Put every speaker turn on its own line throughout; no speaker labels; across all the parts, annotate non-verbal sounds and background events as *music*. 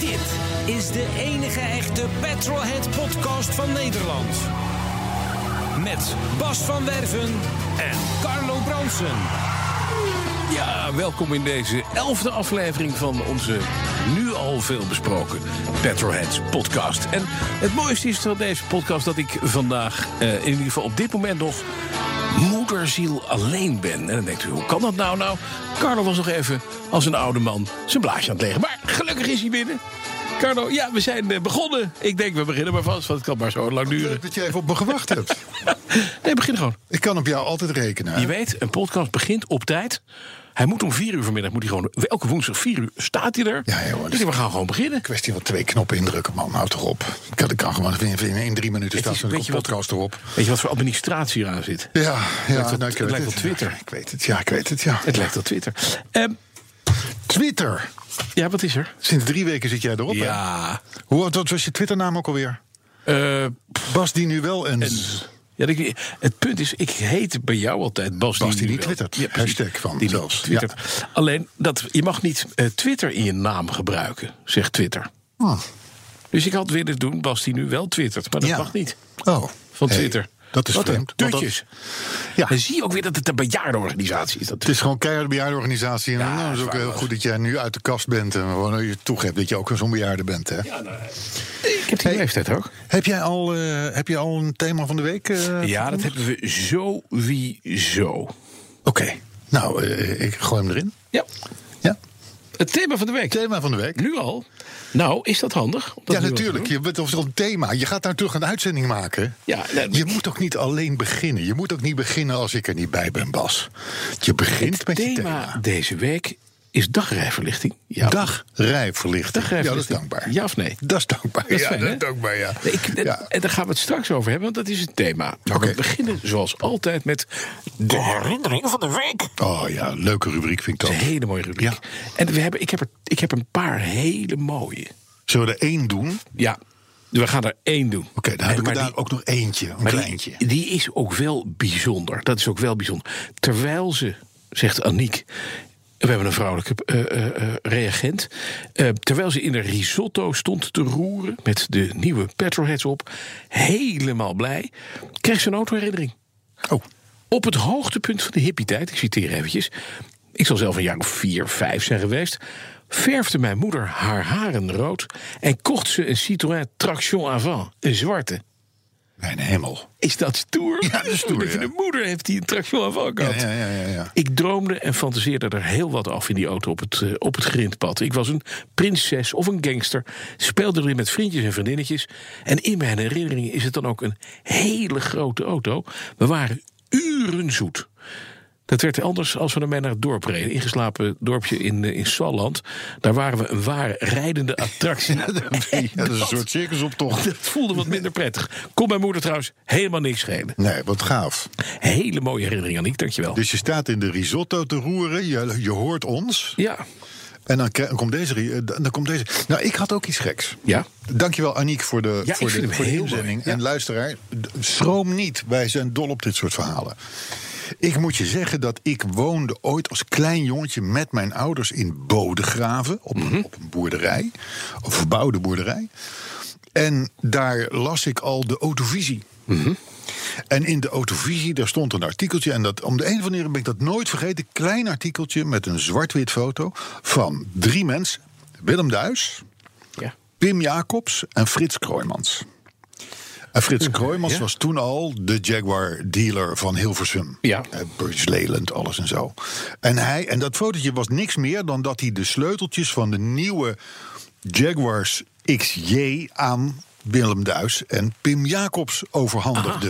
Dit is de enige echte Petrolhead podcast van Nederland. Met Bas van Werven en Carlo Bronsen.
Ja, welkom in deze elfde aflevering van onze nu al veel besproken Petroheads podcast. En het mooiste is van deze podcast dat ik vandaag, eh, in ieder geval op dit moment nog, moederziel alleen ben. En dan denkt u, hoe kan dat nou nou? Carlo was nog even als een oude man zijn blaasje aan het leggen. Maar gelukkig is hij binnen. Carlo, ja, we zijn eh, begonnen. Ik denk, we beginnen maar vast, want het kan maar zo lang duren.
Leuk dat je even op me gewacht hebt.
Nee, begin gewoon.
Ik kan op jou altijd rekenen. hè?
Je weet, een podcast begint op tijd. Hij moet om vier uur vanmiddag, moet hij gewoon, elke woensdag vier uur staat hij er.
Ja, Dus jongen,
Ik denk, we gaan gewoon beginnen.
Kwestie van twee knoppen indrukken, man. Houd toch op. Ik kan, ik kan gewoon in, in, in drie minuten
Het
staan
is-
zo'n
weet je wat-
podcast erop.
Weet je wat voor administratie eraan zit?
Ja, ja
lijkt op-
nou,
het lijkt op Twitter.
Ja, ik weet het, ja, ik weet het, ja.
Het lijkt op Twitter. Ehm,
Twitter.
ja, wat is er? eh,
Sinds drie weken zit jij erop, hè?
Ja.
Hoe wat- wat was je Twitternaam ook alweer?
eh,
Bas die nu wel een...
ja ik- het punt is, ik heet bij jou altijd Bas,
Bas die
nu
niet
wel-
twittert.
Ja, precies.
Hashtag van
die
zelfs.
zelfs. Twittert. Alleen, dat, je mag niet eh, Twitter in je naam gebruiken, zegt Twitter.
Hm.
Dus ik had willen doen, Bas die nu wel twittert, maar dat
Ja.
mag niet.
Oh.
Van
Hey,
Twitter.
dat is
Wat
vreemd.
een
want dat-
tutjes.
ja,
Dan zie je ook weer dat het een bejaardenorganisatie is. Dat
het is gewoon keihard bejaardenorganisatie. En
Ja,
nou, het is ook
zwaar
heel
was.
goed dat jij nu uit de kast bent. En gewoon je toegeeft dat je ook zo'n bejaarde bent, hè?
Ja, nou, ik heb die
Hey.
leeftijd ook.
Heb, jij al, eh, heb je al een thema van de week? eh,
Ja, dat hebben we sowieso.
Oké. Nou, eh, ik gooi hem erin.
Ja,
Ja.
het thema van de week.
Thema van de week.
Nu al? Nou, is dat handig? om dat
ja,
nu al te
natuurlijk.
doen?
Je bent over een thema. Je gaat daar terug een uitzending maken.
Ja, nee,
je moet ook niet alleen beginnen. Je moet ook niet beginnen als ik er niet bij ben, Bas. Je begint
Het
met je
thema
thema.
deze week is dagrijverlichting. Ja.
Dagrijverlichting. Ja, dat is
Dagrijverlichting.
dankbaar.
Ja of nee?
Dat is dankbaar.
is
ja,
fijn,
dat
hè?
is dankbaar, ja.
Nee, ik,
ja.
En daar gaan we het straks over hebben, want dat is het thema. Maar we
Oké.
beginnen zoals altijd met de herinnering van de week.
Oh ja, leuke rubriek vind ik
Dat
dat.
is een hele mooie rubriek.
Ja.
En we hebben, ik, heb er, ik heb een paar hele mooie.
Zullen we er één doen? Oké,
Ja, we gaan er één doen. Oké,
dan heb ik er daar ook nog eentje. Een kleintje.
Die, die is ook wel bijzonder. Dat is ook wel bijzonder. Terwijl ze, zegt Aniek. We hebben een vrouwelijke eh, eh, eh, reagent. eh, terwijl ze in de risotto stond te roeren. met de nieuwe petrolheads op. helemaal blij. kreeg ze een autoherinnering.
Oh,
Op het hoogtepunt van de hippietijd, ik citeer eventjes. Ik zal zelf een jaar of vier, vijf zijn geweest. Verfde mijn moeder haar haren rood. en kocht ze een Citroën Traction Avant, een zwarte.
mijn hemel.
Is dat stoer?
Ja, dat is
*laughs*
stoer,
Omdat je
ja.
de moeder heeft die een traction van gehad.
Ja, ja, ja, ja, ja.
Ik droomde en fantaseerde er heel wat af in die auto op het, eh, op het grindpad. Ik was een prinses of een gangster. Speelde erin met vriendjes en vriendinnetjes. En in mijn herinneringen is het dan ook een hele grote auto. We waren uren zoet. Dat werd anders als we ermee naar het dorp reden. Ingeslapen dorpje in, eh, in Salland. Daar waren we een ware rijdende
*laughs*
attractie. En
Ja, dat is een soort circusoptocht.
dat voelde wat minder prettig. Kon mijn moeder trouwens helemaal niks schelen.
*laughs* Nee, wat gaaf.
Hele mooie herinnering, Aniek, dankjewel.
Dus je staat in de risotto te roeren, je, je hoort ons.
Ja,
En dan, kri- dan, komt deze, ri- eh, dan komt deze. Nou, ik had ook iets geks.
Ja.
Dankjewel, Aniek, voor de,
Ja,
voor
ik
de,
vind hem
voor de
heel
inzending.
mooi, ja.
En luisteraar, d- schroom niet. Wij zijn dol op dit soort verhalen. Ik moet je zeggen dat ik woonde ooit als klein jongetje met mijn ouders in Bodegraven. Op,
Mhm.
een- op een boerderij, een verbouwde boerderij. En daar las ik al de autovisie.
Mhm.
En in de autovisie, daar stond een artikeltje. En dat, om de een of andere manier ben ik dat nooit vergeten. Klein artikeltje met een zwart-wit foto van drie mensen. Willem Duis,
ja.
Pim Jacobs en Frits Kroijmans. En Frits Kroijmans
ja.
was toen al de Jaguar-dealer van Hilversum.
Ja.
Eh, Burgess Leland, alles en zo. En, hij, en dat fotootje was niks meer dan dat hij de sleuteltjes van de nieuwe Jaguars XJ aan Willem Duis en Pim Jacobs overhandigde.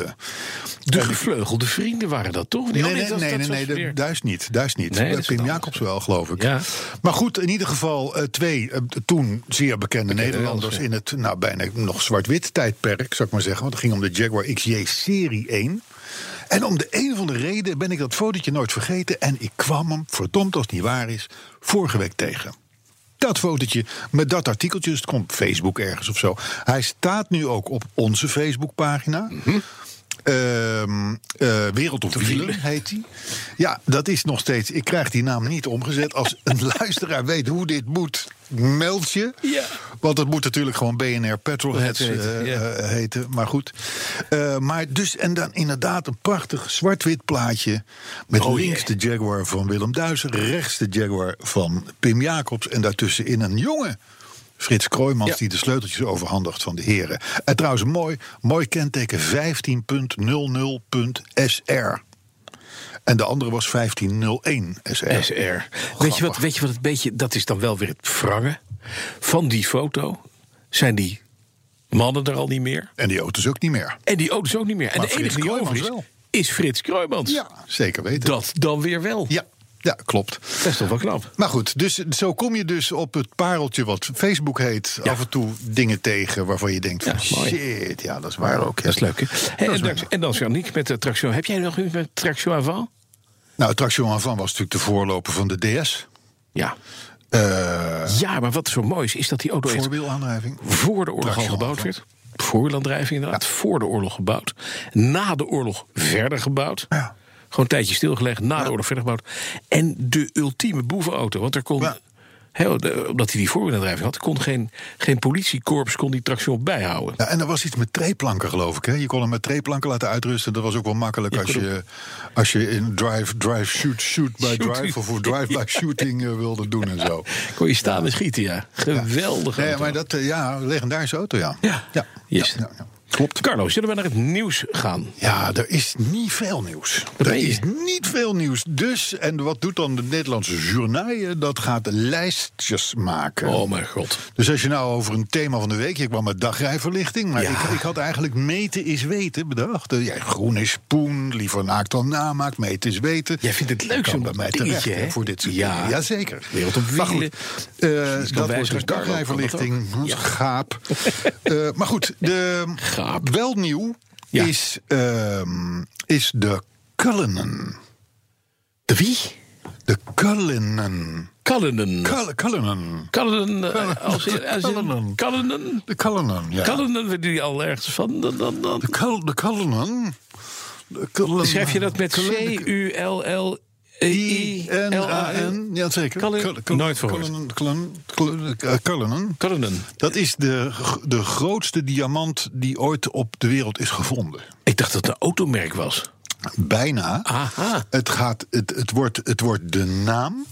Dus
De gevleugelde vrienden waren dat toch?
Nee,
Oh,
nee, nee,
dat-
nee,
dat was
nee,
weer-
de- Duis niet. Duis niet.
Nee, dat is
Pim
wat
Jacobs wel, geloof ik.
Ja.
Maar goed, in ieder geval eh, twee eh, toen zeer bekende Nederlanders...
ja.
in het nou, bijna nog zwart-wit tijdperk, zou ik maar zeggen. Want het ging om de Jaguar XJ Serie 1. En om de een van de reden ben ik dat fotootje nooit vergeten... en ik kwam hem, verdomd als het niet waar is, vorige week tegen. Dat fotootje met dat artikeltje, dus het komt op Facebook ergens of zo. Hij staat nu ook op onze Facebookpagina.
Mhm.
Ehm, eh, Wereld op Wielen heet hij. Ja, dat is nog steeds. Ik krijg die naam niet omgezet. Als
*laughs*
een luisteraar weet hoe dit moet, meld je.
Ja.
Want het moet natuurlijk gewoon BNR Petrolheads
Het heet,
eh,
ja.
eh, heten. Maar goed. Eh, maar dus, en dan inderdaad een prachtig zwart-wit plaatje. Met
Oh,
links
jee.
de Jaguar van Willem Duizen, rechts de Jaguar van Pim Jacobs. En daartussenin een jonge Frits Kroijmans
Ja.
die de sleuteltjes overhandigt van de heren. En trouwens, mooi, mooi kenteken 15.00.SR. En de andere was 1501 SR.
SR. Weet je, wat, weet je wat het beetje, dat is dan wel weer het wrange. Van die foto zijn die mannen er al niet meer.
En die auto's ook niet meer.
En die auto's ook niet meer. En
Maar
de enige
Frits
die over is,
Kruijmans wel.
is Frits Kruijmans.
Ja, zeker weten.
Dat dan weer wel.
Ja, ja, klopt.
Dat is toch wel knap.
Maar goed, dus zo kom je dus op het pareltje wat Facebook heet. Af en toe dingen tegen waarvan je denkt: van,
Ja, mooi.
shit, ja, dat is waar ook. ja.
Dat is leuk, hè? Hey,
Dat
en,
is
dan, en dan Janiek met de traction. Heb jij nog iets met traction avant?
Nou, het Traction Avant was natuurlijk de voorloper van de DS.
Ja.
Eh
Ja, maar wat zo mooi is, is dat die auto echt
voorwielaandrijving.
voor de oorlog al
Traction
gebouwd
avant.
werd. Voorwielaandrijving inderdaad, voor de oorlog gebouwd. Na de oorlog verder gebouwd.
Ja.
Gewoon een tijdje stilgelegd, na de oorlog verder gebouwd. En de ultieme boevenauto, want er kon...
Ja.
hè, de- omdat hij die voorwielaandrijving had, kon geen, geen politiekorps kon die traction bijhouden.
Ja, en er was iets met treeplanken, geloof ik. Hè? Je kon hem met treeplanken laten uitrusten. Dat was ook wel makkelijk als
kon
je, als je in drive, drive, shoot, shoot by
Shoot.
drive... of voor drive-by shooting eh, wilde doen en
*laughs*
zo.
Kon je staan en schieten, ja. Geweldig.
Nee, maar dat, eh, ja, legendarische auto, ja.
Ja,
ja.
yes.
ja, ja. Klopt.
Carlo, zullen we naar het nieuws gaan?
Ja, er is niet veel nieuws.
Dat
Er
meen je.
is niet veel nieuws. Dus, en wat doet dan de Nederlandse journaille? Dat gaat lijstjes maken.
Oh mijn god.
Dus als je nou over een thema van de week... Je kwam met dagrijverlichting, maar
Ja.
ik, ik had eigenlijk meten is weten bedacht. Eh, Ja, groen is poen, liever naakt dan namaakt, meten is weten.
Jij vindt het leuk,
Dat kan
zo'n
bij mij
dingetje,
terecht,
hè?
hè, voor dit soort
Ja.
dingen. Jazeker.
Wereld op wielen.
Maar goed, eh,
Misschien kan wij
dat wordt
zeggen,
dus
Carlo,
dagrijverlichting.
kan dat ook? Ja.
Gaap. Eh, maar goed, de,
Gaap.
wel nieuw
Ja.
is, ehm, is de Cullinan.
De wie?
De Cullinan.
Cullinan.
Cull- Cullinan.
Cullinan. eh, als in- als in-
Cullinan.
Cullinan.
De Cullinan, ja.
Cullinan, vinden jullie al ergens van? Dan, dan, dan.
De, Cull- de Cullinan. De Cullinan.
Schrijf je dat met
Cullinan-
C-U-L-L-I-N-A-N?
I-N-A-N. Ja, zeker.
Cullen-
Cull- Cull-
Nooit verhoord.
Cullinan- Cullinan- Cullinan- eh, Cullinan.
Cullinan.
Dat is de, g- de grootste diamant die ooit op de wereld is gevonden.
Ik dacht dat het een automerk was.
Bijna.
Aha.
Het, gaat, het, het, wordt, het wordt de naam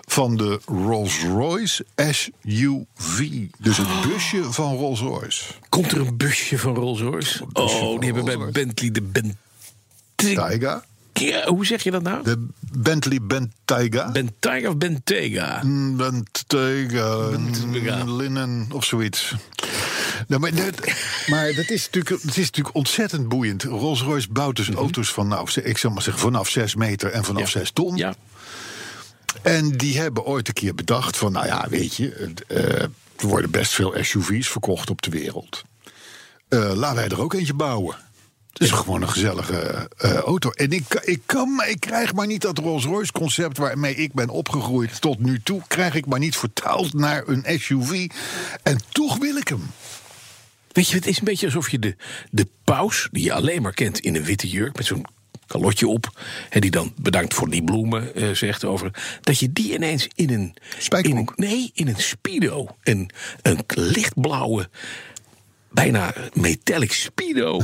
van de Rolls-Royce SUV. Dus het busje van Rolls-Royce.
Komt er een busje van Rolls-Royce?
van
Oh, die hebben bij
Rolls-Royce.
Bentley de Bentega.
Taiga.
Hoe zeg je dat nou?
De Bentley Bentayga.
Bentayga of Bentega?
Bentayga.
Bentayga.
Linnen of zoiets. Nou, maar, dat, maar dat, is natuurlijk, het is natuurlijk ontzettend boeiend. Rolls-Royce bouwt dus auto's van, nou, ik zal maar zeggen, vanaf 6 meter en vanaf
Mhm. Ja.
6 ton.
Ja.
En die hebben ooit een keer bedacht van, nou ja, weet je, het, eh, er worden best veel SUV's verkocht op de wereld. Eh, laten wij er ook eentje bouwen. Het is gewoon een gezellige eh, auto. En ik, ka- ik, kan, maar- ik krijg maar niet dat Rolls-Royce concept waarmee ik ben opgegroeid tot nu toe, krijg ik maar niet vertaald naar een SUV. En toch wil ik hem.
Weet je, het is een beetje alsof je de, de paus, die je alleen maar kent in een witte jurk met zo'n kalotje op, en die dan bedankt voor die bloemen eh, zegt over, dat je die ineens in een
Spijkerbroek.
in een- nee, in een speedo, een, een lichtblauwe, bijna metallic speedo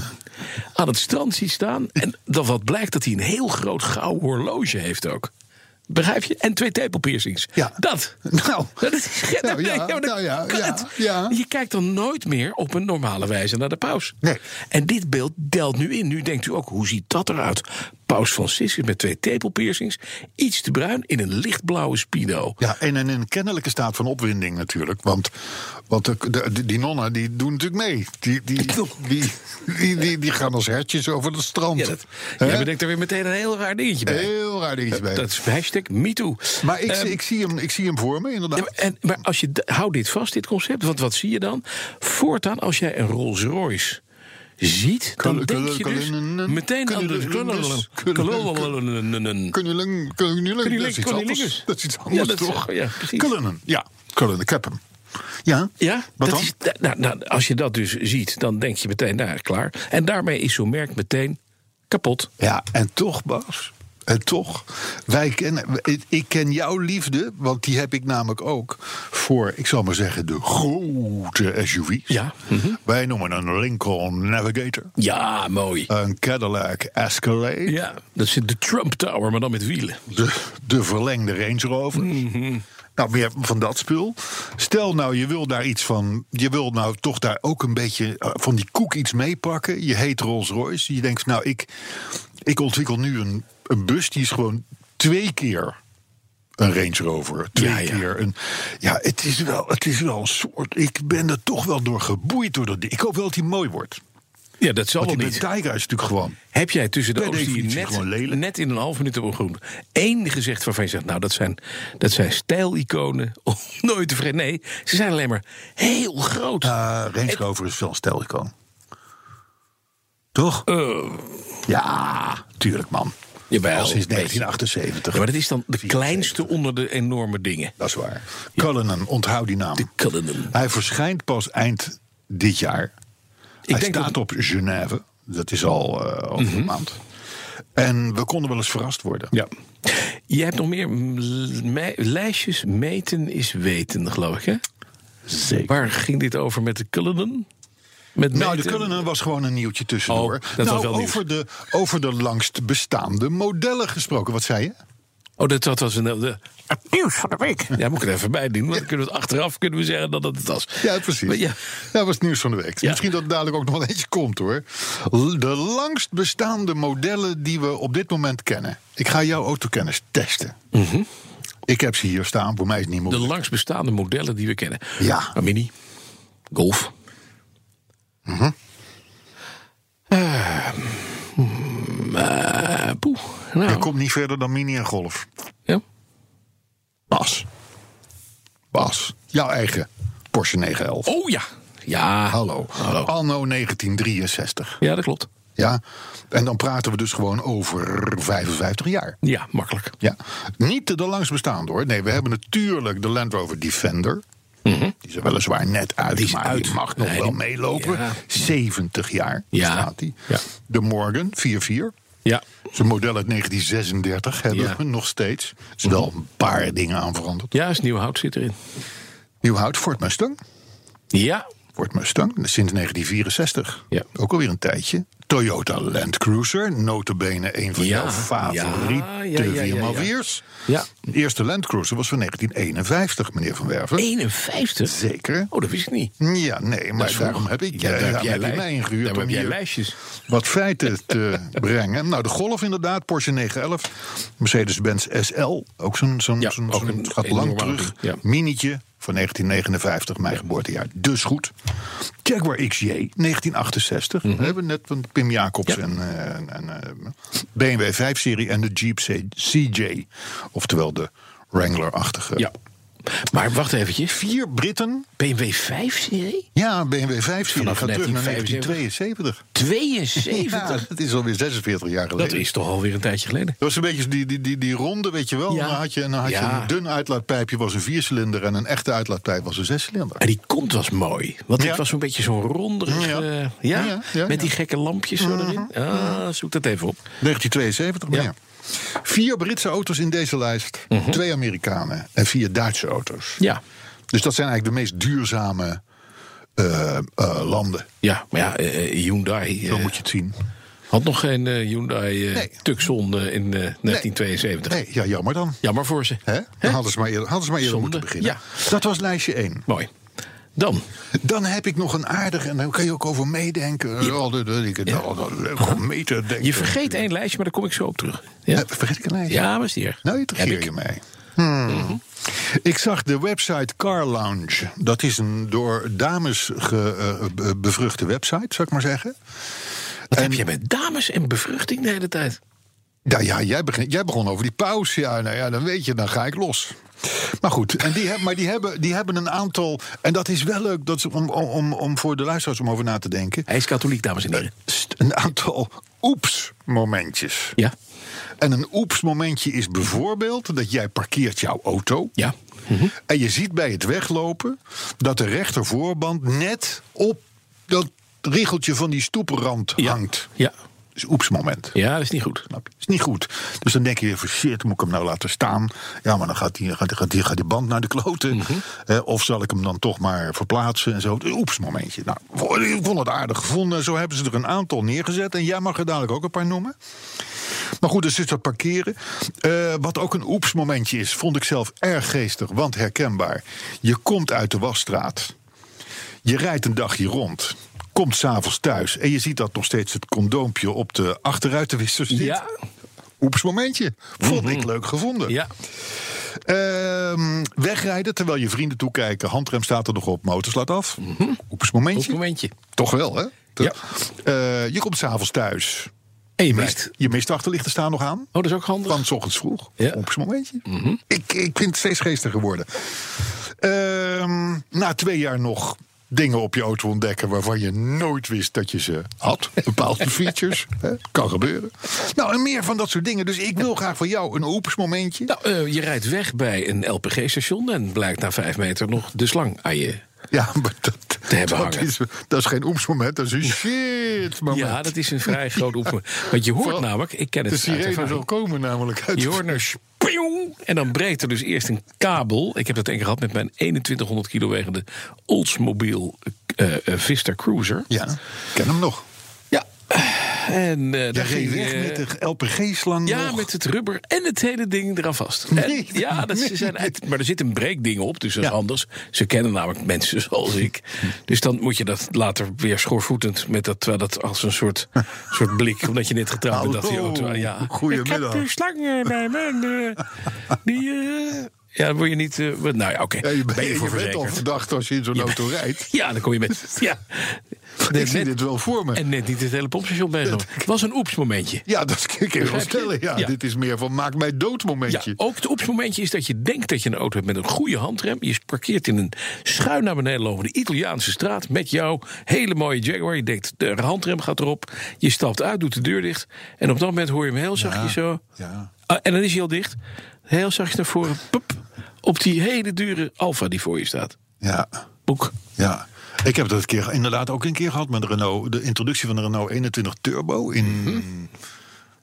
aan het strand ziet staan, en dan wat blijkt dat hij een heel groot gouden horloge heeft ook. Begrijp je? En twee tepelpiercings.
Ja.
Dat.
*laughs* Nou.
Dat is,
Nou ja,
Nee, maar dat
nou ja,
kan
ja,
het.
ja.
Je kijkt dan nooit meer op een normale wijze naar de paus.
Nee.
En dit beeld delt nu in. Nu denkt u ook, hoe ziet dat eruit? Paus Franciscus met twee tepelpiercings. Iets te bruin in een lichtblauwe Speedo.
Ja, en in een kennelijke staat van opwinding natuurlijk. Want, want de, de- die nonnen die doen natuurlijk mee. Die, die, die, die, die, die gaan als hertjes over het strand.
Ja, dat,
Hè?
jij bedenkt er weer meteen een heel raar dingetje bij.
Heel raar dingetje bij.
Dat is hashtag MeToo. Ehm,
maar ik, zie- ik, zie hem, ik zie hem voor me, inderdaad.
Ja, maar, en, maar als je, d- hou dit vast, dit concept. Want wat zie je dan? Voortaan, als jij een Rolls Royce ziet, dan
Kulle-
denk
kulle-
je dus
kulle-
meteen aan de...
kulle-
kulle-
Kunnen jullie dat is iets anders.
Kunnelingus.
Dat is iets
Ja,
anders,
dat is-
toch?
ja, precies.
Kullenen, ja. Kullenen, ik heb hem. Ja,
Ja,
wat
dat
dan?
Is, nou, nou, als je dat dus ziet, dan denk je meteen, nou, klaar. En daarmee is zo'n merk meteen kapot.
Ja, en toch, Bas. En toch, wij kennen, ik- ik ken jouw liefde, want die heb ik namelijk ook voor, ik zal maar zeggen, de grote SUV's.
Ja,
Wij noemen een Lincoln Navigator,
Ja, mooi.
een Cadillac Escalade,
Ja, dat zit de Trump Tower, maar dan met wielen.
de, de verlengde Range Rover.
Mhm.
Nou, meer van dat spul. Stel nou, je wil daar iets van. Je wil nou toch daar ook een beetje eh, van die koek iets meepakken. Je heet Rolls Royce. Je denkt, van, nou, ik, ik ontwikkel nu een, een bus die is gewoon twee keer een Range Rover. Twee
Ja, ja.
keer een. Ja, het is, wel, het is wel een soort. Ik ben er toch wel door geboeid door dat ding. Ik hoop wel dat hij mooi wordt.
Ja, dat zal wel
Want die
niet.
Bentayga is natuurlijk gewoon.
Heb jij tussen de
Per
auto's die je
definitie gewoon
net,
lelijk.
net in een half minuut hebt opgenoemd... één gezegd waarvan je zegt, nou, dat zijn, dat zijn stijliconen. om *laughs* Nooit te vergeten. Nee, ze zijn alleen maar heel groot.
Eh, Range Rover is wel een stijlicoon. Toch?
Eh,
Ja, tuurlijk man.
Jawel,
Al sinds
een beetje.
1978.
ja, maar dat is dan de kleinste onder de enorme dingen.
Dat is waar. Cullinan, onthoud die naam.
De Cullinan.
Hij verschijnt pas eind dit jaar. Hij
denk
staat
dat- Mhm.
op Genève. Dat is al eh, over een maand. En we konden wel eens verrast worden.
Ja. Je hebt nog meer mm, me- lijstjes. Meten is weten, geloof ik, hè?
Zeker.
Waar ging dit over met de Cullinan? Met
Nou, de
meten?
Cullinan was gewoon een nieuwtje tussendoor.
Oh, dat was
nou,
wel nieuws.
over, de, over de langst bestaande modellen gesproken. Wat zei je?
Oh, dat, dat was een, de, het nieuws van de week. Ja, moet ik er even bij doen. Want dan kunnen we het achteraf kunnen we zeggen dat dat het was.
Ja, precies.
Maar ja,
Dat was het nieuws van de week.
Ja.
Misschien dat er dadelijk ook nog wel eentje komt hoor. L- De langst bestaande modellen die we op dit moment kennen. Ik ga jouw autokennis testen.
Mhm.
Ik heb ze hier staan, voor mij is het niet
de
moeilijk.
langst bestaande modellen die we kennen.
Ja.
Een Mini, Golf.
Mhm.
Eh, mm, eh, poeh. Nou,
Je komt niet verder dan Mini en Golf.
ja.
Bas. Bas. Jouw eigen Porsche 911.
Oh ja. Ja.
Hallo. Anno 1963.
Ja, dat klopt.
Ja. En dan praten we dus gewoon over 55 jaar.
Ja, makkelijk.
Ja, niet de langst bestaande hoor. Nee, we hebben natuurlijk de Land Rover Defender. Die is er weliswaar net uit,
Mhm. Die is
maar
uit.
die mag nog
Nee,
wel
die-
meelopen.
ja.
70 jaar
Ja.
staat die.
Ja.
De Morgan 4-4.
Ja.
Zijn model uit 1936 hebben
Ja.
we nog steeds. Er zijn wel een paar dingen aan veranderd.
Ja, is nieuw hout zit erin.
Nieuwhout, Ford Mustang.
Ja.
Ford Mustang, sinds 1964.
Ja.
Ook alweer een tijdje. Toyota Land Cruiser, notabene een van
Ja.
jouw favoriete
Ja, ja, ja, ja, ja.
4x4's.
Ja.
De eerste Land Cruiser was van 1951, meneer Van Werven.
51?
Zeker.
Oh, dat wist ik niet.
Ja, nee, maar
is
daarom
vroeg.
heb ik,
Ja, daar heb
daarom
jij
heb
lij-
ik mij
daarom
ingehuurd om
heb jij
hier
lijstjes.
wat feiten te *laughs* brengen. Nou, de Golf inderdaad, Porsche 911, Mercedes-Benz SL, ook zo'n, zo'n,
Ja,
zo'n,
ook
zo'n-
een
gaat lang
enorme
terug.
auto, ja.
Minietje van 1959, mijn geboortejaar, dus goed. Jaguar XJ, 1968, we hebben net van Pim Jacobs
Mhm. Ja.
en, eh, en, eh, BMW 5-serie en de Jeep C- CJ, oftewel de Wrangler-achtige.
Ja. Maar wacht eventjes.
Vier Britten
BMW 5-serie?
Ja, BMW 5 serie
Vanaf
gaat terug naar 1972.
72?
Ja, dat is alweer 46 jaar geleden.
Dat is toch alweer een tijdje geleden.
Dat was een beetje die, die, die, die ronde, weet je wel.
Ja.
Dan had je, dan had
Ja.
je een dun uitlaatpijpje was een viercilinder... en een echte uitlaatpijp was een zescilinder.
En die kont was mooi. Want
Ja.
het was zo'n beetje zo'n ronderig...
Ja.
eh, ja,
ja, ja, Mhm.
met die
ja.
gekke lampjes zo erin. Ah, zoek dat even op.
1972, maar
Ja. Mhm.
ja. Vier Britse auto's in deze lijst. Twee Amerikanen en vier Duitse auto's.
Ja.
Dus dat zijn eigenlijk de meest duurzame eh, eh, landen.
Ja, maar ja, eh, eh, Hyundai eh,
Zo moet je het zien.
had nog geen eh, Hyundai eh,
Nee.
Tucson eh, in eh, 1972.
Nee, ja, jammer dan.
Jammer voor ze.
Hè? Dan hadden ze maar eerder, hadden ze maar eerder
Zonde.
moeten beginnen.
Ja.
Dat was lijstje 1.
Mooi. Dan?
Dan heb ik nog een aardige, en daar kan je ook over meedenken. Ja. dat weet ik het al, dat leuk om mee te denken.
Je vergeet één lijstje, maar daar kom ik zo op terug. Ja,
Eh, Vergeet ik een lijstje?
ja maar hier.
Nou, je trigeer je mee. Hmm. Ik zag de website Car Lounge. Dat is een door dames ge, eh, be- bevruchte website, zou ik maar zeggen.
Wat heb jij met dames en bevruchting de hele tijd?
Nou ja, jij begon, jij begon over die pauze. Ja, nou ja, dan weet je, dan ga ik los. Maar goed, en die heb, maar die hebben, die hebben een aantal. En dat is wel leuk dat ze, om, om, om voor de luisteraars om over na te denken.
Hij is katholiek, dames en heren.
st- Een aantal oeps-momentjes.
Ja.
En een oeps-momentje is bijvoorbeeld dat jij parkeert jouw auto.
Ja.
En je ziet bij het weglopen dat de rechtervoorband net op dat riegeltje van die stoeprand
Ja.
hangt.
Ja.
Dat is een oepsmoment.
Ja, dat is niet goed.
Snap je? Is niet goed. Dus dan denk je weer van shit, moet ik hem nou laten staan? Ja, maar dan gaat die, gaat, die- gaat die, gaat die band naar de kloten.
Mhm.
Eh, of zal ik hem dan toch maar verplaatsen en zo. Oeps, momentje. Nou, vo- ik vond het aardig gevonden. Zo hebben ze er een aantal neergezet. En jij mag er dadelijk ook een paar noemen. Maar goed, dus is dat parkeren. Eh, wat ook een oeps momentje is, vond ik zelf erg geestig, want herkenbaar. Je komt uit de wasstraat. Je rijdt een dagje rond. Komt s'avonds thuis. En je ziet dat nog steeds het condoompje op de achteruitenwisser zit.
Ja. Mhm.
Oeps momentje. Vond ik leuk gevonden.
Ja.
Ehm, wegrijden terwijl je vrienden toekijken. Handrem staat er nog op. Motor slaat af. Oeps momentje.
Op een momentje.
Toch wel, hè?
Mhm. Ja.
Eh, je komt s'avonds thuis.
En je mist.
Je mist de achterlichten staan nog aan.
Oh, dat is ook handig.
Van 's ochtends vroeg.
Ja. Mhm.
Op zo'n momentje. ik, ik vind het steeds geestiger worden. Ehm, na twee jaar nog dingen op je auto ontdekken waarvan je nooit wist dat je ze had.
*laughs*
Bepaalde features. hè, Kan gebeuren. Nou, en meer van dat soort dingen. Dus ik wil graag van jou een oeps momentje.
Nou, eh, je rijdt weg bij een LPG-station en blijkt na vijf meter nog de slang aan je.
Ja, maar dat,
hebben
dat,
hangen.
is, dat is geen oeps moment. Dat is een shit moment.
Ja, dat is een vrij groot oefening. Want je hoort
Vooral
namelijk, ik ken het
Oh, De
uit
sirene
ervaring.
zal komen namelijk uit.
Je hoort een spioeng en dan breekt er dus eerst een kabel. Ik heb dat één keer gehad met mijn 2100 kilo wegende Oldsmobile eh, eh, Vista Cruiser.
Ja, ik ken hem nog.
Ja. En eh, daar
Jij ging
ging,
weg
eh,
met de LPG-slang
Ja,
nog.
met het rubber en het hele ding eraan vast.
Nee.
En- ja, dat ze zijn uit- maar er zit een breekding op, dus dat is
Ja.
anders. Ze kennen namelijk mensen zoals ik. Dus dan moet je dat later weer schoorvoetend met dat, terwijl dat als een soort, soort blik, omdat je net getrouwd bent, dat die
Hallo,
auto. Ja.
goedemiddag.
Ik heb een slang eh, bij me. en, eh, die. eh, ja, dan word je niet. eh, wat- nou ja, oké.
Ja, je,
ben je voor
bent al
verzekerd?
verdacht als je in zo'n auto rijdt.
Ja, dan kom je met. Ja.
Ik zie dit wel voor me.
En net niet het hele pompstation
*laughs*
bezig. Het was een oeps momentje.
ja, dat kan ik je wel
Begrijp je?
stellen. Ja,
Ja.
Dit is meer van maak mij dood
Ja, oh.
momentje.
ook het opsmomentje is dat je denkt dat je een auto hebt met een goede handrem. Je parkeert in een schuin naar beneden lopende Italiaanse straat met jouw hele mooie Jaguar. Je denkt, de handrem gaat erop. Je stapt uit, doet de deur dicht. En op dat moment hoor je hem heel zachtjes zo.
ja.
Ah, en dan is hij al dicht. Heel zachtjes naar voren. Pup, op die hele dure Alfa die voor je staat.
Ja.
Boek.
Ja. Ik heb dat een keer, inderdaad ook een keer gehad met de Renault. De introductie van de Renault 21 Turbo in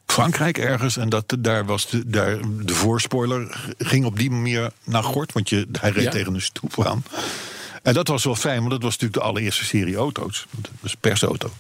Frankrijk ergens. En dat, daar was de, daar, de voorspoiler ging op die manier naar gort. Want je, hij reed
Ja.
tegen een stoep aan. En dat was wel fijn, want dat was natuurlijk de allereerste serie auto's. Dat was persauto.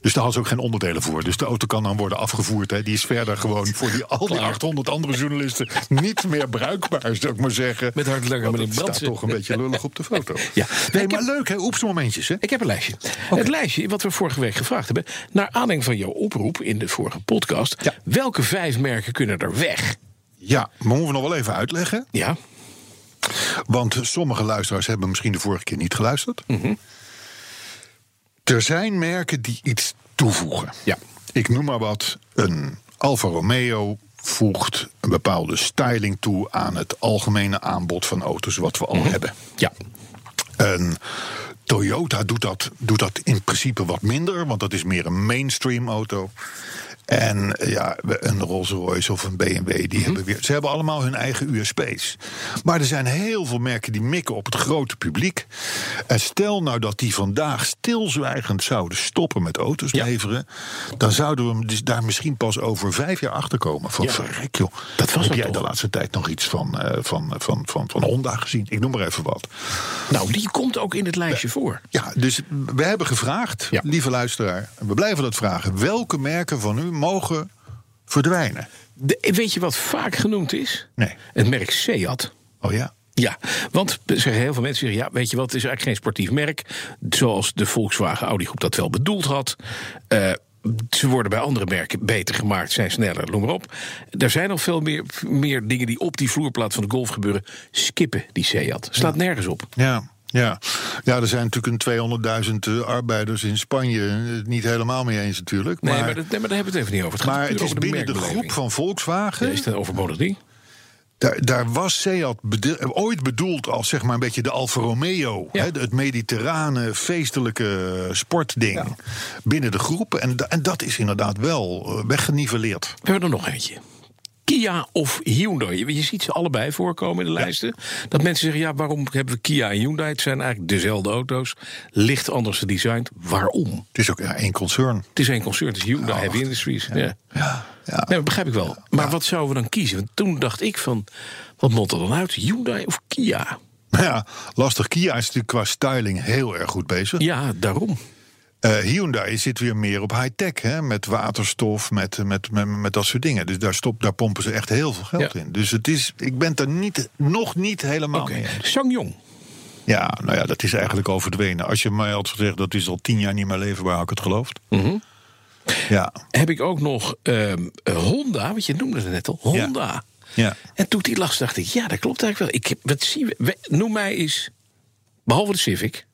Dus daar had ze ook geen onderdelen voor. Dus de auto kan dan worden afgevoerd. Hè. Die is verder gewoon voor die, al die 800 andere journalisten niet meer bruikbaar, zou ik maar zeggen.
Met hartelijk
Want
meneer
het staat
Brandsen.
toch een beetje lullig op de foto.
*laughs* Ja.
Nee,
Ik
maar
heb-
leuk hè, oepsmomentjes hè.
Ik heb een lijstje. Het lijstje wat we vorige week gevraagd hebben. Naar aanleiding van jouw oproep in de vorige podcast.
Ja.
Welke vijf merken kunnen er weg?
Ja, maar moeten we nog wel even uitleggen.
Ja.
Want sommige luisteraars hebben misschien de vorige keer niet geluisterd.
Mhm.
Er zijn merken die iets toevoegen.
Ja.
Ik noem maar wat. Een Alfa Romeo voegt een bepaalde styling toe aan het algemene aanbod van auto's wat we al
Mhm.
hebben.
Ja.
En Toyota doet dat, doet dat in principe wat minder, want dat is meer een mainstream auto. En eh, ja, een Rolls Royce of een BMW, die
Mhm.
hebben weer. Ze hebben allemaal hun eigen USP's. Maar er zijn heel veel merken die mikken op het grote publiek. En stel nou dat die vandaag stilzwijgend zouden stoppen met auto's
Ja.
leveren. Dan zouden we dus daar misschien pas over vijf jaar achter komen. Van
Ja.
verrek joh.
Dat was
Heb
het
jij
toch?
de laatste tijd nog iets van, eh, van, van, van, van Honda gezien? Ik noem maar even wat.
Nou, die komt ook in het lijstje voor.
Ja, dus we hebben gevraagd,
Ja.
lieve luisteraar, en we blijven dat vragen. Welke merken van u mogen verdwijnen?
De- weet je wat vaak genoemd is?
Nee.
Het merk Seat.
Oh ja.
Ja, want er zeggen heel veel mensen zeggen, ja, weet je wat, het is eigenlijk geen sportief merk. Zoals de Volkswagen Audi groep dat wel bedoeld had. Eh, ze worden bij andere merken beter gemaakt, zijn sneller, noem maar op. Er zijn nog veel meer, meer dingen die op die vloerplaat van de golf gebeuren. Skippen die Seat. Slaat nergens op.
Ja. Ja. ja, er zijn natuurlijk een 200.000 eh, arbeiders in Spanje eh, het niet helemaal mee eens natuurlijk.
Nee, maar, dat, nee, maar daar hebben we het even niet over. Het gaat
maar het
natuurlijk
is
over de
binnen de groep
merkbeleving.
van Volkswagen.
Ja, Is dat overbodig ding?
Daar, daar was Seat bede- ooit bedoeld als zeg maar een beetje de Alfa Romeo.
Ja.
Hè, de- het mediterrane, feestelijke eh, sportding binnen de groep. En, da- en dat is inderdaad wel eh, weggeniveleerd.
We hebben er nog eentje. Kia of Hyundai. Je- Je ziet ze allebei voorkomen in de lijsten. Dat mensen zeggen, ja, waarom hebben we Kia en Hyundai? Het zijn eigenlijk dezelfde auto's. Licht anders gedesigned. Waarom?
Het is ook ja, één concern. *laughs*
Het is één concern, het is Hyundai Heavy Industries. Ja.
Ja.
Nee, dat begrijp ik wel. Maar wat zouden we dan kiezen? Want toen dacht ik van, wat moet er dan uit? Hyundai of Kia?
Maar ja, lastig. Kia is natuurlijk qua styling heel erg goed bezig.
Ja, daarom.
Eh, Hyundai zit weer meer op high-tech, hè, met waterstof, met, met, met, met dat soort dingen. Dus daar, stop, daar pompen ze echt heel veel geld
Ja.
in. Dus het is, ik ben het er niet, nog niet helemaal
Oké,
mee eens.
Sangyong.
Ja, nou ja, dat is eigenlijk overdwenen. Als je mij had gezegd dat is al tien jaar niet meer leverbaar, had ik het geloofd.
Mhm.
Ja,
Heb ik ook nog ehm, eh, Honda, want je noemde het net al, Honda.
ja.
En toen ik die las, dacht ik, ja, dat klopt eigenlijk wel. Ik, heb- wat zien we, we- noem mij eens, behalve de Civic,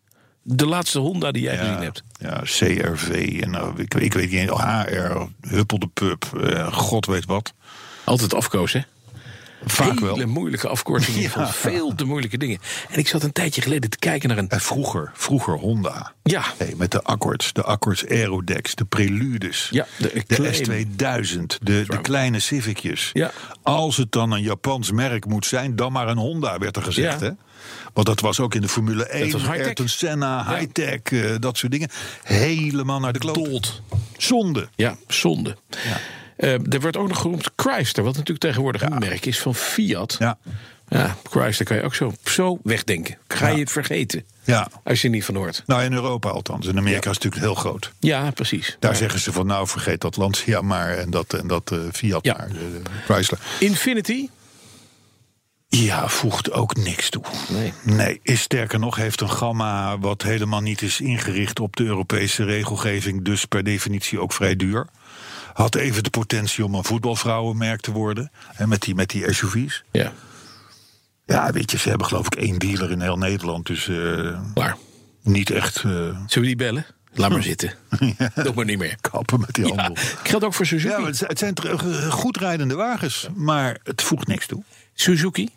de laatste Honda die jij gezien
Ja,
hebt.
ja, CRV en nou, ik, ik weet niet, eens, HR, Huppel de Pub, eh, god weet wat.
Altijd afkozen, hè?
Vaak
Hele
wel.
moeilijke afkortingen
*laughs*
van veel te moeilijke dingen. En ik zat een tijdje geleden te kijken naar een...
En Eh, vroeger, vroeger Honda.
Ja.
Hey, met de Accords, de Accords Aerodex, de Preludes.
Ja, de Acclaim.
S2000, de, de kleine Civicjes.
Ja.
Als het dan een Japans merk moet zijn, dan maar een Honda, werd er gezegd.
Ja.
Hè? Want dat was ook in de Formule 1,
was high-tech.
Ayrton Senna,
Ja.
high-tech, eh, dat soort dingen. Helemaal naar de kloot.
Dood.
Zonde.
Ja, zonde. Eh, er werd ook nog genoemd Chrysler, wat natuurlijk tegenwoordig een merk is van Fiat.
Ja.
Ja, Chrysler kan je ook zo, zo wegdenken. Ga je het vergeten,
Ja.
als je er niet van hoort.
Nou, in Europa althans. In Amerika is het natuurlijk heel groot.
Ja, precies.
Daar zeggen ze van, nou vergeet dat Lancia maar en dat, en dat eh, Fiat
Ja.
maar, eh, Chrysler.
Infinity?
Ja, voegt ook niks toe.
Nee.
Nee, is sterker nog, heeft een gamma wat helemaal niet is ingericht op de Europese regelgeving, dus per definitie ook vrij duur. Had even de potentie om een voetbalvrouwenmerk te worden. Hè, met, die, met die SUV's.
Ja,
Ja, weet je, ze hebben geloof ik één dealer in heel Nederland. Dus eh,
klaar.
niet echt eh,
Zullen we die bellen? Laat
*laughs*
maar zitten. Doe maar niet meer.
kappen met die
Ja,
handel.
geldt ook voor Suzuki.
Ja, maar het zijn- het zijn terug- eh, goed rijdende wagens, maar het voegt niks toe.
Suzuki,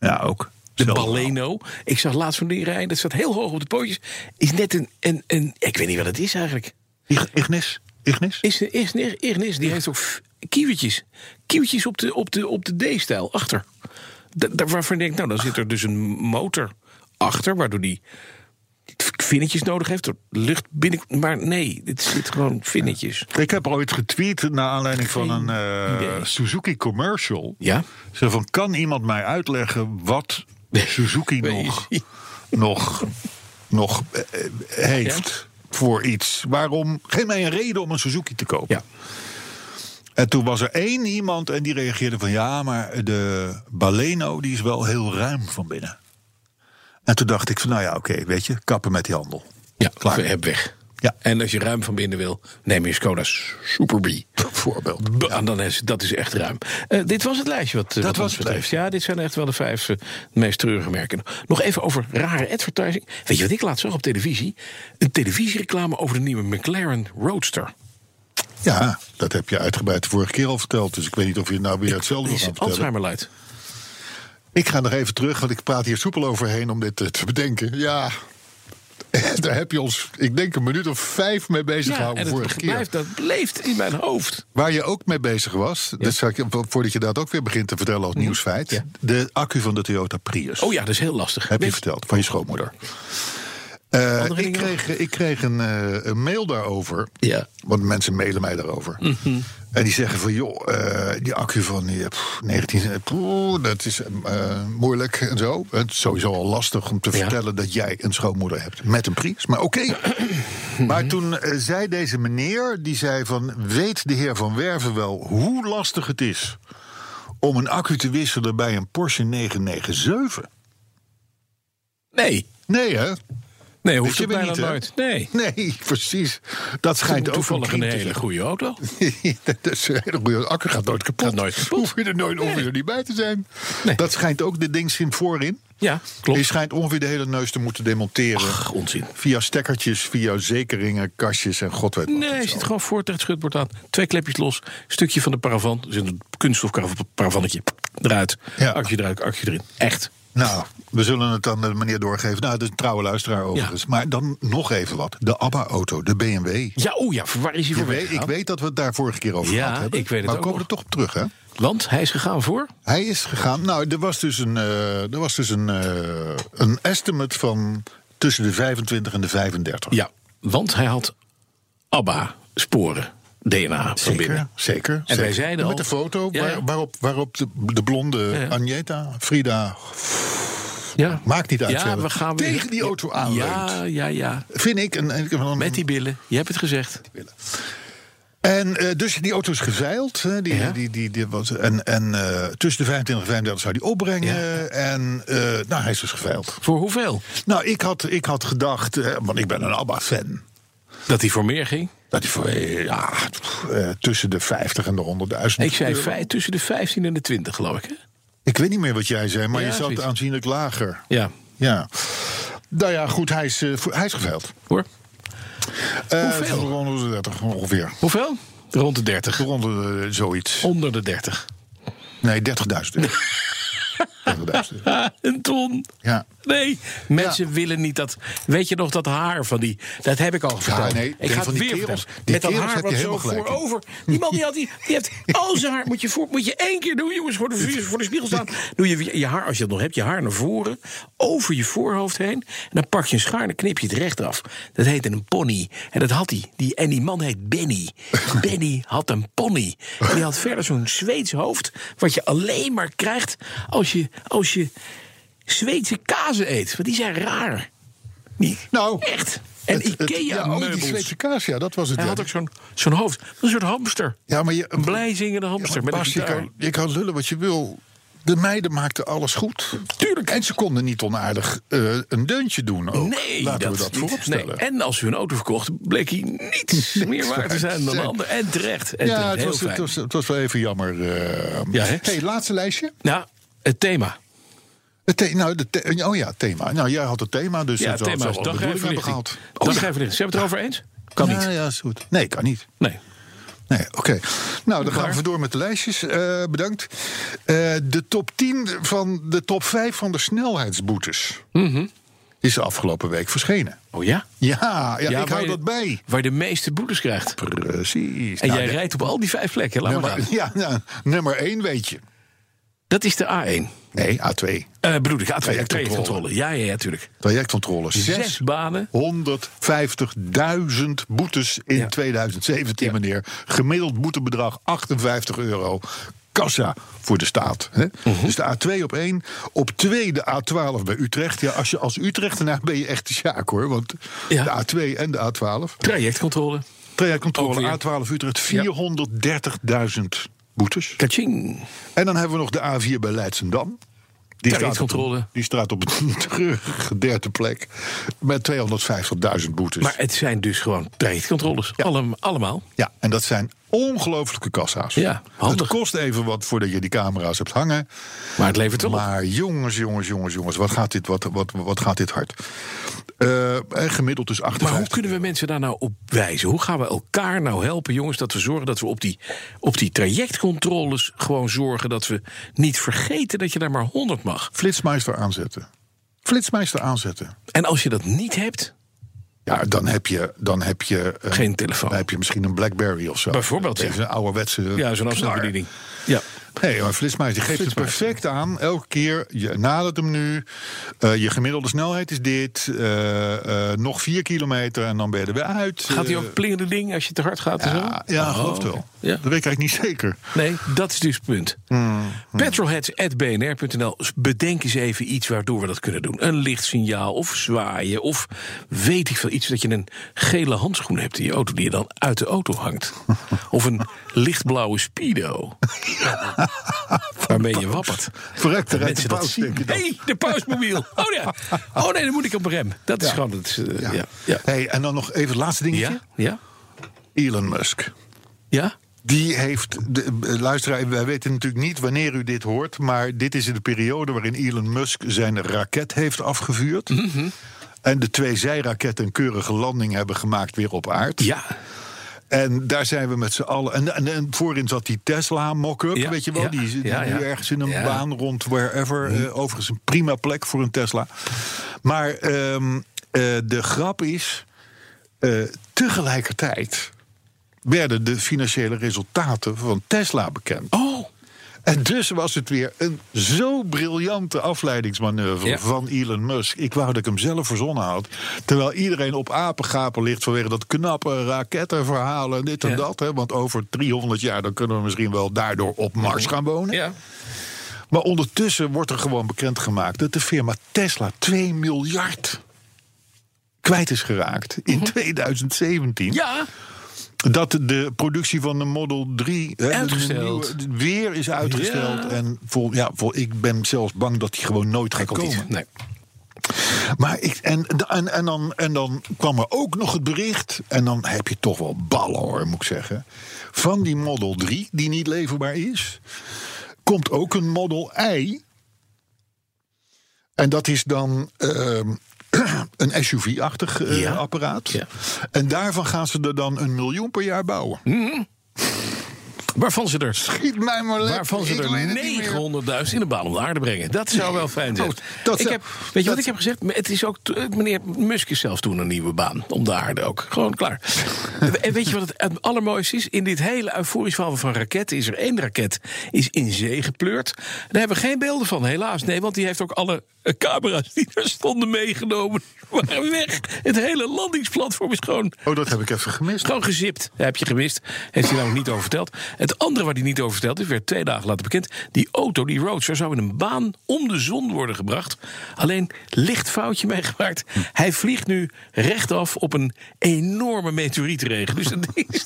Ja, ook.
de
Zelfde
Baleno. Ik zag laatst van die rijden, dat staat heel hoog op de pootjes. Is net een, een, een ik weet niet wat het is eigenlijk.
Ig- Ignis? Ignis?
Is een is, is, Ignis, die heeft ook f- kiewitjes. Kiewitjes op de, op de, op de D-stijl, achter. Da, daar waarvan je denkt, nou, dan zit er dus een motor achter... waardoor die vinnetjes nodig heeft, er lucht binnen... Maar nee, dit zit gewoon vinnetjes.
Ik heb ooit getweet naar aanleiding van
Geen
een eh,
idee.
Suzuki commercial.
Ja?
Zo van, kan iemand mij
*laughs*
uitleggen wat Suzuki nog,
Nee.
nog, nog eh, eh, heeft voor iets? Waarom? Geef mij een reden om een Suzuki te kopen.
Ja.
En toen was er één iemand en die reageerde van... ja, maar de Baleno die is wel heel ruim van binnen. En toen dacht ik van, nou ja, oké, weet je, kappen met die handel.
Ja, eh,
Klaar.
Heb weg.
Ja.
En als je ruim van binnen wil, neem je Skoda Super B.
Bijvoorbeeld.
B- en Dan is, dat is echt ruim. Eh, dit was het lijstje wat, eh, wat
was
ons
het
betreft.
lijstje.
Ja, dit zijn echt wel de vijf eh, meest treurige merken. Nog even over rare advertising. Weet je wat ik laatst zag op televisie? Een televisiereclame over de nieuwe McLaren Roadster.
Ja, dat heb je uitgebreid de vorige keer al verteld. Dus ik weet niet of je nou weer hetzelfde wil
Is
gaan vertellen.
Alzheimer luid.
Ik ga nog even terug, want ik praat hier soepel overheen om dit eh, te bedenken. Ja, *laughs* daar heb je ons, ik denk, een minuut of vijf mee bezig
Ja,
gehouden
en het
vorige keer.
blijft, dat leeft in mijn hoofd.
Waar je ook mee bezig was, dus zal ik je- voordat je dat ook weer begint te vertellen als nieuwsfeit...
Mhm. Ja.
de accu van de Toyota Prius.
Oh ja, dat is heel lastig.
Heb je
Weet-
verteld, van je schoonmoeder. Eh,
Andere
ik,
dingen
kreeg, ik kreeg een, eh, een mail daarover.
Ja. Mhm.
Want mensen mailen mij daarover. En die zeggen van, joh, eh, die accu van die, eh, pff, 19... eh, pff, dat is eh, moeilijk en zo. Het is sowieso al lastig om te
Ja.
vertellen dat jij een schoonmoeder hebt. Met een prijs, maar
*clears throat*
oké.
Mhm.
maar toen eh, zei deze meneer, die zei van... weet de heer Van Werven wel hoe lastig het is... om een accu te wisselen bij een Porsche 997?
Nee.
Nee, hè?
Nee,
Wist
hoeft
je
het
weer
bijna
niet, hè?
nooit. Nee.
Nee, precies. Dat schijnt ook
Toevallig
een
een
kriem te
hele goede auto.
zijn. *laughs* dat is een hele goede. Akker gaat nooit kapot.
Gaat nooit kapot.
Hoef je er, nooit, hoef je er niet bij te zijn.
Nee.
Dat schijnt ook de ding zin voorin.
Ja, klopt.
Die schijnt ongeveer de hele neus te moeten demonteren.
Ach, onzin.
Via stekkertjes, via zekeringen, kastjes en god weet wat.
Nee,
en
hij
zo.
zit gewoon voor tegen het schutbord aan. Twee klepjes los, stukje van de paravan. Er zit een kunststof kar- paravannetje eruit.
Ja.
Actie eruit, actie erin. Echt.
Nou, we zullen het aan de meneer doorgeven. Nou, het is een trouwe luisteraar overigens. Maar dan nog even wat. De ABBA-auto, de BMW.
Ja, oh ja, waar is hij
Je
voor
weet, ik
weggegaan?
weet dat we het daar vorige keer over
Ja,
gehad hebben.
ik weet het
maar
ook
we komen
nog.
er toch op terug, hè?
Want hij is gegaan voor...
Hij is gegaan. Nou, er was dus een, eh, er was dus een, eh, een estimate van tussen de 25 en de 35.
Ja, want hij had ABBA-sporen, DNA van
zeker.
binnen.
zeker
En wij
zeker.
zeiden al-
Met de foto
Ja,
waar-
ja.
waarop, waarop de, de blonde
ja.
Agneta, Frida,
Ja.
maakt niet uit. ze
Ja,
hebben
we gaan weer...
Tegen die auto aanleunt.
Ja, ja, ja.
Vind ik een... een- een-
Met die billen. Je hebt het gezegd.
En eh, dus die auto is gezeild. Hè, die,
Ja.
die, die, die was, en en eh, tussen de 25 en 35 zou die opbrengen. En eh, nou, hij is dus geveild.
Voor hoeveel?
Nou, ik had, ik had gedacht, eh, want ik ben een ABBA-fan.
Dat hij voor meer ging?
Dat die voor, eh, ja, pff, eh, tussen de 50 en de 100.000.
Ik zei
euro.
vij- tussen de 15 en de 20, geloof ik. Hè?
Ik weet niet meer wat jij zei, maar
Ja,
je zat
zoiets.
aanzienlijk lager.
Ja,
Ja. Nou ja, goed, hij is, eh, voor- hij is geveild.
hoor.
Eh,
Hoeveel?
voor Rond de 30 ongeveer.
Hoeveel? Rond de 30.
Rond de, eh, zoiets.
Onder de 30.
Nee, 30.000
*laughs*
euro. 30.000 euro.
Ah, *laughs* een ton.
Ja.
Nee, mensen willen niet dat. Weet je nog dat haar van die. Dat heb ik al verteld.
nee,
ik
denk
ga
van
het
die
weer
kerels-
vertellen.
die
Met dat
kerels
haar
heb je
wat zo
helemaal gelijk in.
voorover. Die man die, had, die, die heeft al zijn haar. Moet je, voor, moet je één keer doen, jongens. Voor de, vier- voor de spiegel staan. Doe je, je haar, als je dat nog hebt, je haar naar voren. Over je voorhoofd heen. En dan pak je een schaar en dan knip je het recht af. Dat heette een pony. En dat had hij. Die, en die man heet Benny. Benny had een pony. En die had verder zo'n Zweeds hoofd. Wat je alleen maar krijgt als je. Als je Zweedse kazen eet. Want die zijn raar. Niet.
Nou,
Echt. En
Het- het- ja, oh, die
IKEA-meubels.
Zweedse kaas, ja, dat was het.
Hij
ja.
had ook zo'n zo'n hoofd. Een soort hamster.
ja, maar je,
Een blijzingende hamster
Ja, maar
met een
Bas, je
gitaar.
kan, je kan lullen wat je wil. De meiden maakten alles goed.
Tuurlijk.
En ze konden niet onaardig eh, een deuntje doen ook.
Nee,
Oh, Laten we
dat
dat
niet.
vooropstellen.
Nee. En als u een auto verkocht, bleek hij
*laughs*
niets meer waard te zijn dan de
waard.
ander. En terecht. En
ja,
terecht.
het
Heel
was,
fijn.
het, was, het was wel even jammer. eh.
Ja, hè?
hey, laatste lijstje.
Nou, het thema.
Het the- nou, de the- oh ja, thema. Nou, jij had het thema, dus
Ja,
dat
het thema is Oh,
zou wel de bedoeling hebben
dagrijverlichting.
gehad.
Dagrijverlichting. Zijn we het erover eens? Kan
Ja,
niet.
ja, is goed. Nee, kan niet.
Nee.
Nee, oké. Nou, dan gaan
Waar?
we even door met de lijstjes. Eh, bedankt. Eh, de top 10 van de top 5 van de snelheidsboetes
Mhm.
is de afgelopen week verschenen.
Oh ja?
Ja, ja, ik
waar
hou
je-
dat bij.
Waar je de meeste boetes krijgt.
Precies.
En
Nou,
jij
de-
rijdt op al die vijf plekken. Laat maar
nummer,
gaan.
*laughs* ja, nou, nummer 1 weet je.
Dat is de A1.
Nee, A2.
Eh bedoel ik, A2.
Trajectcontrole.
Trajectcontrole. Ja, ja, ja, tuurlijk.
Trajectcontrole.
Zes banen.
150.000 boetes in
Ja.
2017,
Ja.
meneer. Gemiddeld boetebedrag 58 euro. Kassa voor de staat. Hè?
Mhm.
Dus de A2 op 1. Op 2 de A12 bij Utrecht. Ja, als je als Utrechtenaar ben je echt de sjaak hoor. Want
Ja.
de A2 en de A12.
Trajectcontrole. Ook weer.
Trajectcontrole A12 Utrecht. 430.000 boetes.
Kaching.
En dan hebben we nog de A4 bij Leidsendam. Die staat,
Trajectcontrole.
op, die staat op *laughs* een treurige derde plek. Met 250.000 boetes.
Maar het zijn dus gewoon trajectcontroles. Allem- allemaal.
Ja, en dat zijn ongelooflijke kassa's.
Ja, handig.
Het kost even wat voordat je die camera's hebt hangen.
Maar het levert wel op.
Maar jongens, jongens, jongens, jongens, wat gaat dit, wat, wat, wat gaat dit hard? Eh, en gemiddeld dus
Maar hoe
58.
kunnen we mensen daar nou op wijzen? Hoe gaan we elkaar nou helpen, jongens, dat we zorgen dat we op die, op die trajectcontroles gewoon zorgen dat we niet vergeten dat je daar maar 100 mag.
Flitsmeister aanzetten. Flitsmeister aanzetten.
En als je dat niet hebt,
Ja, dan heb je... Dan heb je eh,
Geen telefoon.
Dan heb je misschien een Blackberry of zo.
Bijvoorbeeld,
Dat is
ja.
een ouderwetse
ja, zo'n
knar.
afstandsbediening. Ja.
Nee, maar Flitsmeister die geeft het
Flitsmeister.
perfect aan. Elke keer, je nadert hem nu. eh, je gemiddelde snelheid is dit. eh, eh, nog vier kilometer en dan ben je er weer uit.
Gaat hij
Eh,
ook plingende ding als je te hard gaat? en zo?
Ja, ja geloof het wel.
Oh, Ja.
Dat weet ik eigenlijk niet zeker.
Nee, dat is dus het punt.
Hmm,
Petrolheads.bnr.nl. Bedenk eens even iets waardoor we dat kunnen doen. Een lichtsignaal of zwaaien of weet ik veel. Iets dat je een gele handschoen hebt
*laughs*
in je auto die je dan uit de auto hangt. Of een lichtblauwe speedo. Waar ben je wapperd?
Verrekt eruit de
Mensen dat
pauze,
zien.
denk je dan.
hey, de pausmobiel. Oh ja. Oh nee, dan moet ik op rem. Dat is gewoon... Dat is, eh, ja. Ja. Ja.
Hey, en dan nog even het laatste dingetje.
ja? Ja?
Elon Musk.
Ja?
Die heeft, de, eh, luisteraar, wij weten natuurlijk niet wanneer u dit hoort... maar dit is in de periode waarin Elon Musk zijn raket heeft afgevuurd... en de twee zijraketten een keurige landing hebben gemaakt weer op aarde. En daar zijn we met z'n allen... En, en, en voorin zat die Tesla-mock-up,
Ja,
weet je wel?
ja,
die zit
ja,
nu
ja.
ergens in een
Ja. Hm.
baan rond, wherever. Eh, overigens een prima plek voor een Tesla. Maar ehm, eh, de grap is, eh, tegelijkertijd werden de financiële resultaten van Tesla bekend.
Oh.
En dus was het weer een zo briljante afleidingsmanoeuvre
Ja.
van Elon Musk. Ik wou dat ik hem zelf verzonnen had. Terwijl iedereen op apengapen ligt vanwege dat knappe rakettenverhaal en dit en
Ja.
dat. Hè? Want over 300 jaar dan kunnen we misschien wel daardoor op Mars gaan wonen.
Mhm. Ja.
Maar ondertussen wordt er gewoon bekendgemaakt dat de firma Tesla 2 miljard kwijt is geraakt in
Mhm.
2017
Ja.
dat de productie van de Model 3 hè, de
Uitgesteld.
nieuwe, weer is uitgesteld.
Ja.
En vol, ja, vol, ik ben zelfs bang dat die gewoon nooit gaat
Komt
komen.
niet. Nee.
Maar ik, en, en, en, dan, en dan kwam er ook nog het bericht. En dan heb je toch wel ballen hoor, moet ik zeggen. Van die Model 3, die niet leverbaar is, komt ook een Model I. En dat is dan ehm, *clears throat* een SUV-achtig eh,
Ja.
apparaat.
Ja.
En daarvan gaan ze er dan een miljoen per jaar bouwen.
Waarvan ze er...
Schiet mij maar lekker.
Waarvan ze
Ik
er
weet het niet meer.
900.000 in de baan om de aarde brengen. Dat zou wel fijn zijn.
Oh, dat
ik
zou-
heb, weet je wat
dat-
ik heb gezegd? Het is ook, eh, meneer Musk is zelf toen een nieuwe baan. Om de aarde ook. Gewoon
*laughs*
klaar. en weet je wat het, het allermooiste is? In dit hele euforisch verhaal van raketten is er één raket is in zee gepleurd. Daar hebben we geen beelden van, helaas. Nee, want die heeft ook alle eh, camera's die er stonden meegenomen. *laughs* Die waren weg. Het hele landingsplatform is gewoon
Oh, dat heb ik even gemist.
gewoon gezipt. Dat heb je gemist. Heeft hij namelijk niet over verteld. Het andere waar hij niet over verteld is, werd twee dagen later bekend. Die auto, die Roadster, zou in een baan om de zon worden gebracht. Alleen licht foutje meegemaakt. Hij vliegt nu rechtaf op een enorme meteorietregen. Dus dat ding is,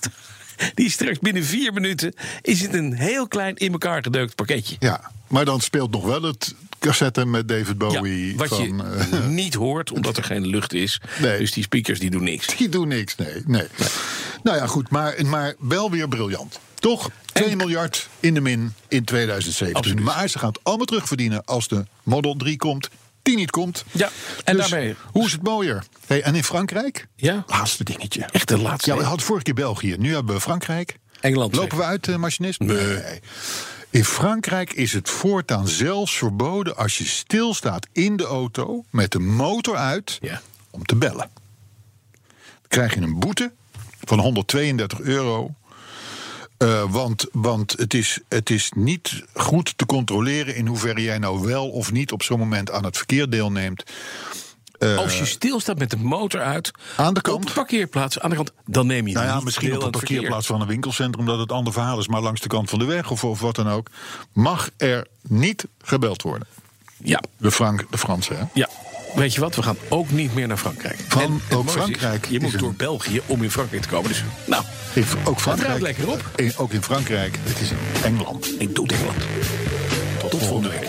die is straks binnen vier minuten... is het een heel klein in elkaar gedeukt pakketje.
Ja, maar dan speelt nog wel het cassette met David Bowie.
Ja, wat
van,
je
eh,
niet hoort, omdat er geen lucht is.
Nee.
Dus die speakers die doen niks.
die doen niks, nee. nee. Nou ja, goed, maar, maar wel weer briljant. Toch? 2 miljard in de min in 2017.
Absoluut.
Maar ze gaan het allemaal terugverdienen als de Model 3 komt, die niet komt.
Ja, en
Dus
daarmee-
Hoe is het mooier? Hey, en in Frankrijk?
Ja.
Laatste dingetje.
Echt de laatste.
Ja, we hadden vorige keer België. Nu hebben we Frankrijk.
Engeland,
Lopen we
zeg.
uit, eh, machinist? Nee. In Frankrijk is het voortaan zelfs verboden als je stilstaat in de auto met de motor uit
Ja.
om te bellen. Dan krijg je een boete van 132 euro. eh, want want het, is, het is niet goed te controleren in hoeverre jij nou wel of niet op zo'n moment aan het verkeer deelneemt.
Als je stilstaat met de motor uit.
Eh, Aan de
Op
kant.
de parkeerplaats, aan de kant. Dan neem je
Nou ja,
niet
misschien
deel
op
aan
een
het verkeer.
parkeerplaats van een winkelcentrum, dat het ander verhaal is, maar langs de kant van de weg of, of wat dan ook, mag er niet gebeld worden.
Ja,
De, Frank, de Fransen, hè?
ja. Weet je wat? We gaan ook niet meer naar Frankrijk.
Van-
En het
ook
mooiste is,
Frankrijk
je
is
moet
een-
door België om in Frankrijk te komen. Dus nou,
In- ook Frankrijk.
ruikt lekker op.
In- ook in Frankrijk. Het is Engeland.
ik doe het Engeland. Tot, volgende week.